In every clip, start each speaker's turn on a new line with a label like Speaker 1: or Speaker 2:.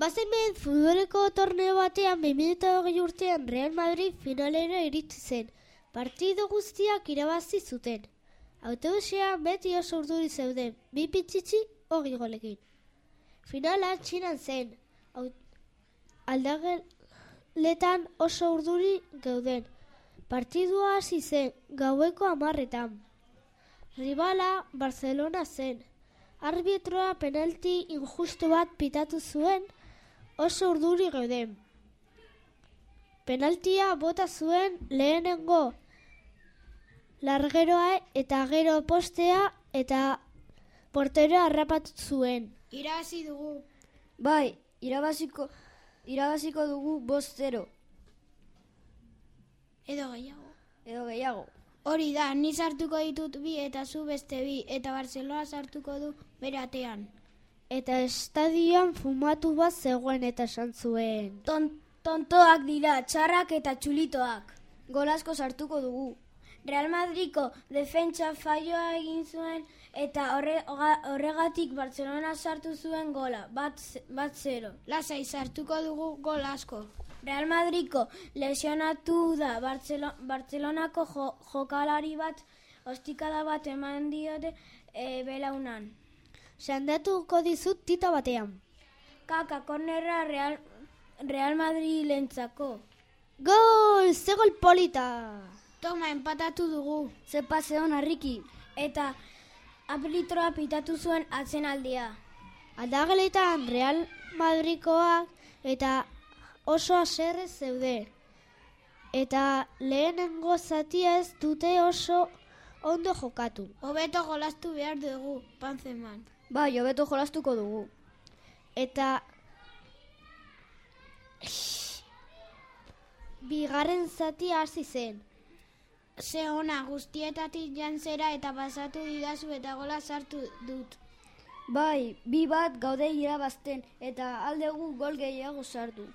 Speaker 1: Bazen behin futboleko torneo batean 2020 urtean Real Madrid finalera iritsi zen. Partido guztiak irabazi zuten. Autobusean beti oso urduri zeuden, bi pitxitxi hori golekin. Finala txinan zen, au- aldageletan oso urduri geuden. Partidua hasi zen, gaueko amarretan. Rivala Barcelona zen. Arbitroa penalti injustu bat pitatu zuen oso urduri geuden. Penaltia bota zuen lehenengo largeroa eta gero postea eta porteroa harrapatu zuen.
Speaker 2: Irabazi dugu.
Speaker 3: Bai, irabaziko, irabaziko dugu bost zero,
Speaker 2: Edo gehiago.
Speaker 3: edo gehiago.
Speaker 2: Hori da, ni sartuko ditut bi eta zu beste bi eta Barcelona sartuko du bere atean.
Speaker 1: Eta estadioan fumatu bat zegoen eta esan zuen.
Speaker 3: Ton, tontoak dira, txarrak eta txulitoak. Golasko sartuko dugu. Real Madriko defentsa faioa egin zuen eta horre, hoga- horregatik Barcelona sartu zuen gola, bat, ze- bat zero.
Speaker 2: Lasai sartuko dugu gol asko.
Speaker 3: Real Madriko lesionatu da Bartzelo, Bartzelonako jo, jokalari bat ostikada bat eman diote e, belaunan.
Speaker 1: Sandatuko dizut tita batean.
Speaker 3: Kaka kornerra Real, Real Madrilentzako.
Speaker 1: Gol! Ze gol polita!
Speaker 2: Toma, empatatu dugu.
Speaker 3: Ze pase hona Riki. Eta aplitroa pitatu zuen atzenaldia.
Speaker 1: Aldageletan Real Madrikoak eta oso aserre zeude. Eta lehenengo zatia ez dute oso ondo jokatu.
Speaker 2: Hobeto jolastu behar dugu, Panzeman.
Speaker 3: Ba, jobeto jolastuko dugu.
Speaker 1: Eta bigarren zatia hasi zen.
Speaker 2: Ze ona, guztietatik jantzera eta pasatu didazu eta gola sartu dut.
Speaker 3: Bai, bi bat gaude irabazten eta aldegu gol gehiago sartu.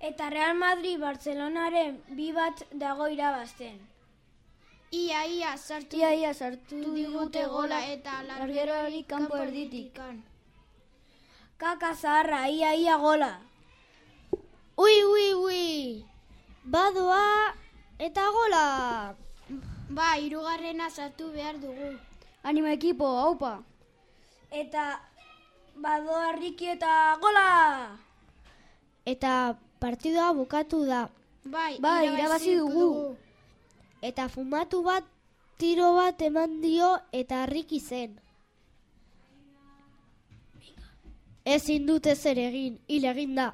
Speaker 3: Eta Real Madrid Barcelonaren bi bat dago irabazten.
Speaker 2: Ia, ia, sartu
Speaker 3: Ia ia sartu
Speaker 2: digute gola eta
Speaker 3: largero hori kanpo erditik.
Speaker 2: erditikan.
Speaker 3: Kaka zaharra, ia ia gola.
Speaker 1: Ui, ui, ui! Badoa eta gola!
Speaker 2: Ba, hirugarrena sartu behar dugu.
Speaker 3: Anima ekipo, haupa. Eta badoa Riki eta gola!
Speaker 1: Eta partidua bukatu da.
Speaker 2: Bai,
Speaker 3: Bai, irabazi dugu.
Speaker 1: Eta fumatu bat tiro bat eman dio eta harrik izen. Ezin dut ezer egin, hil egin da.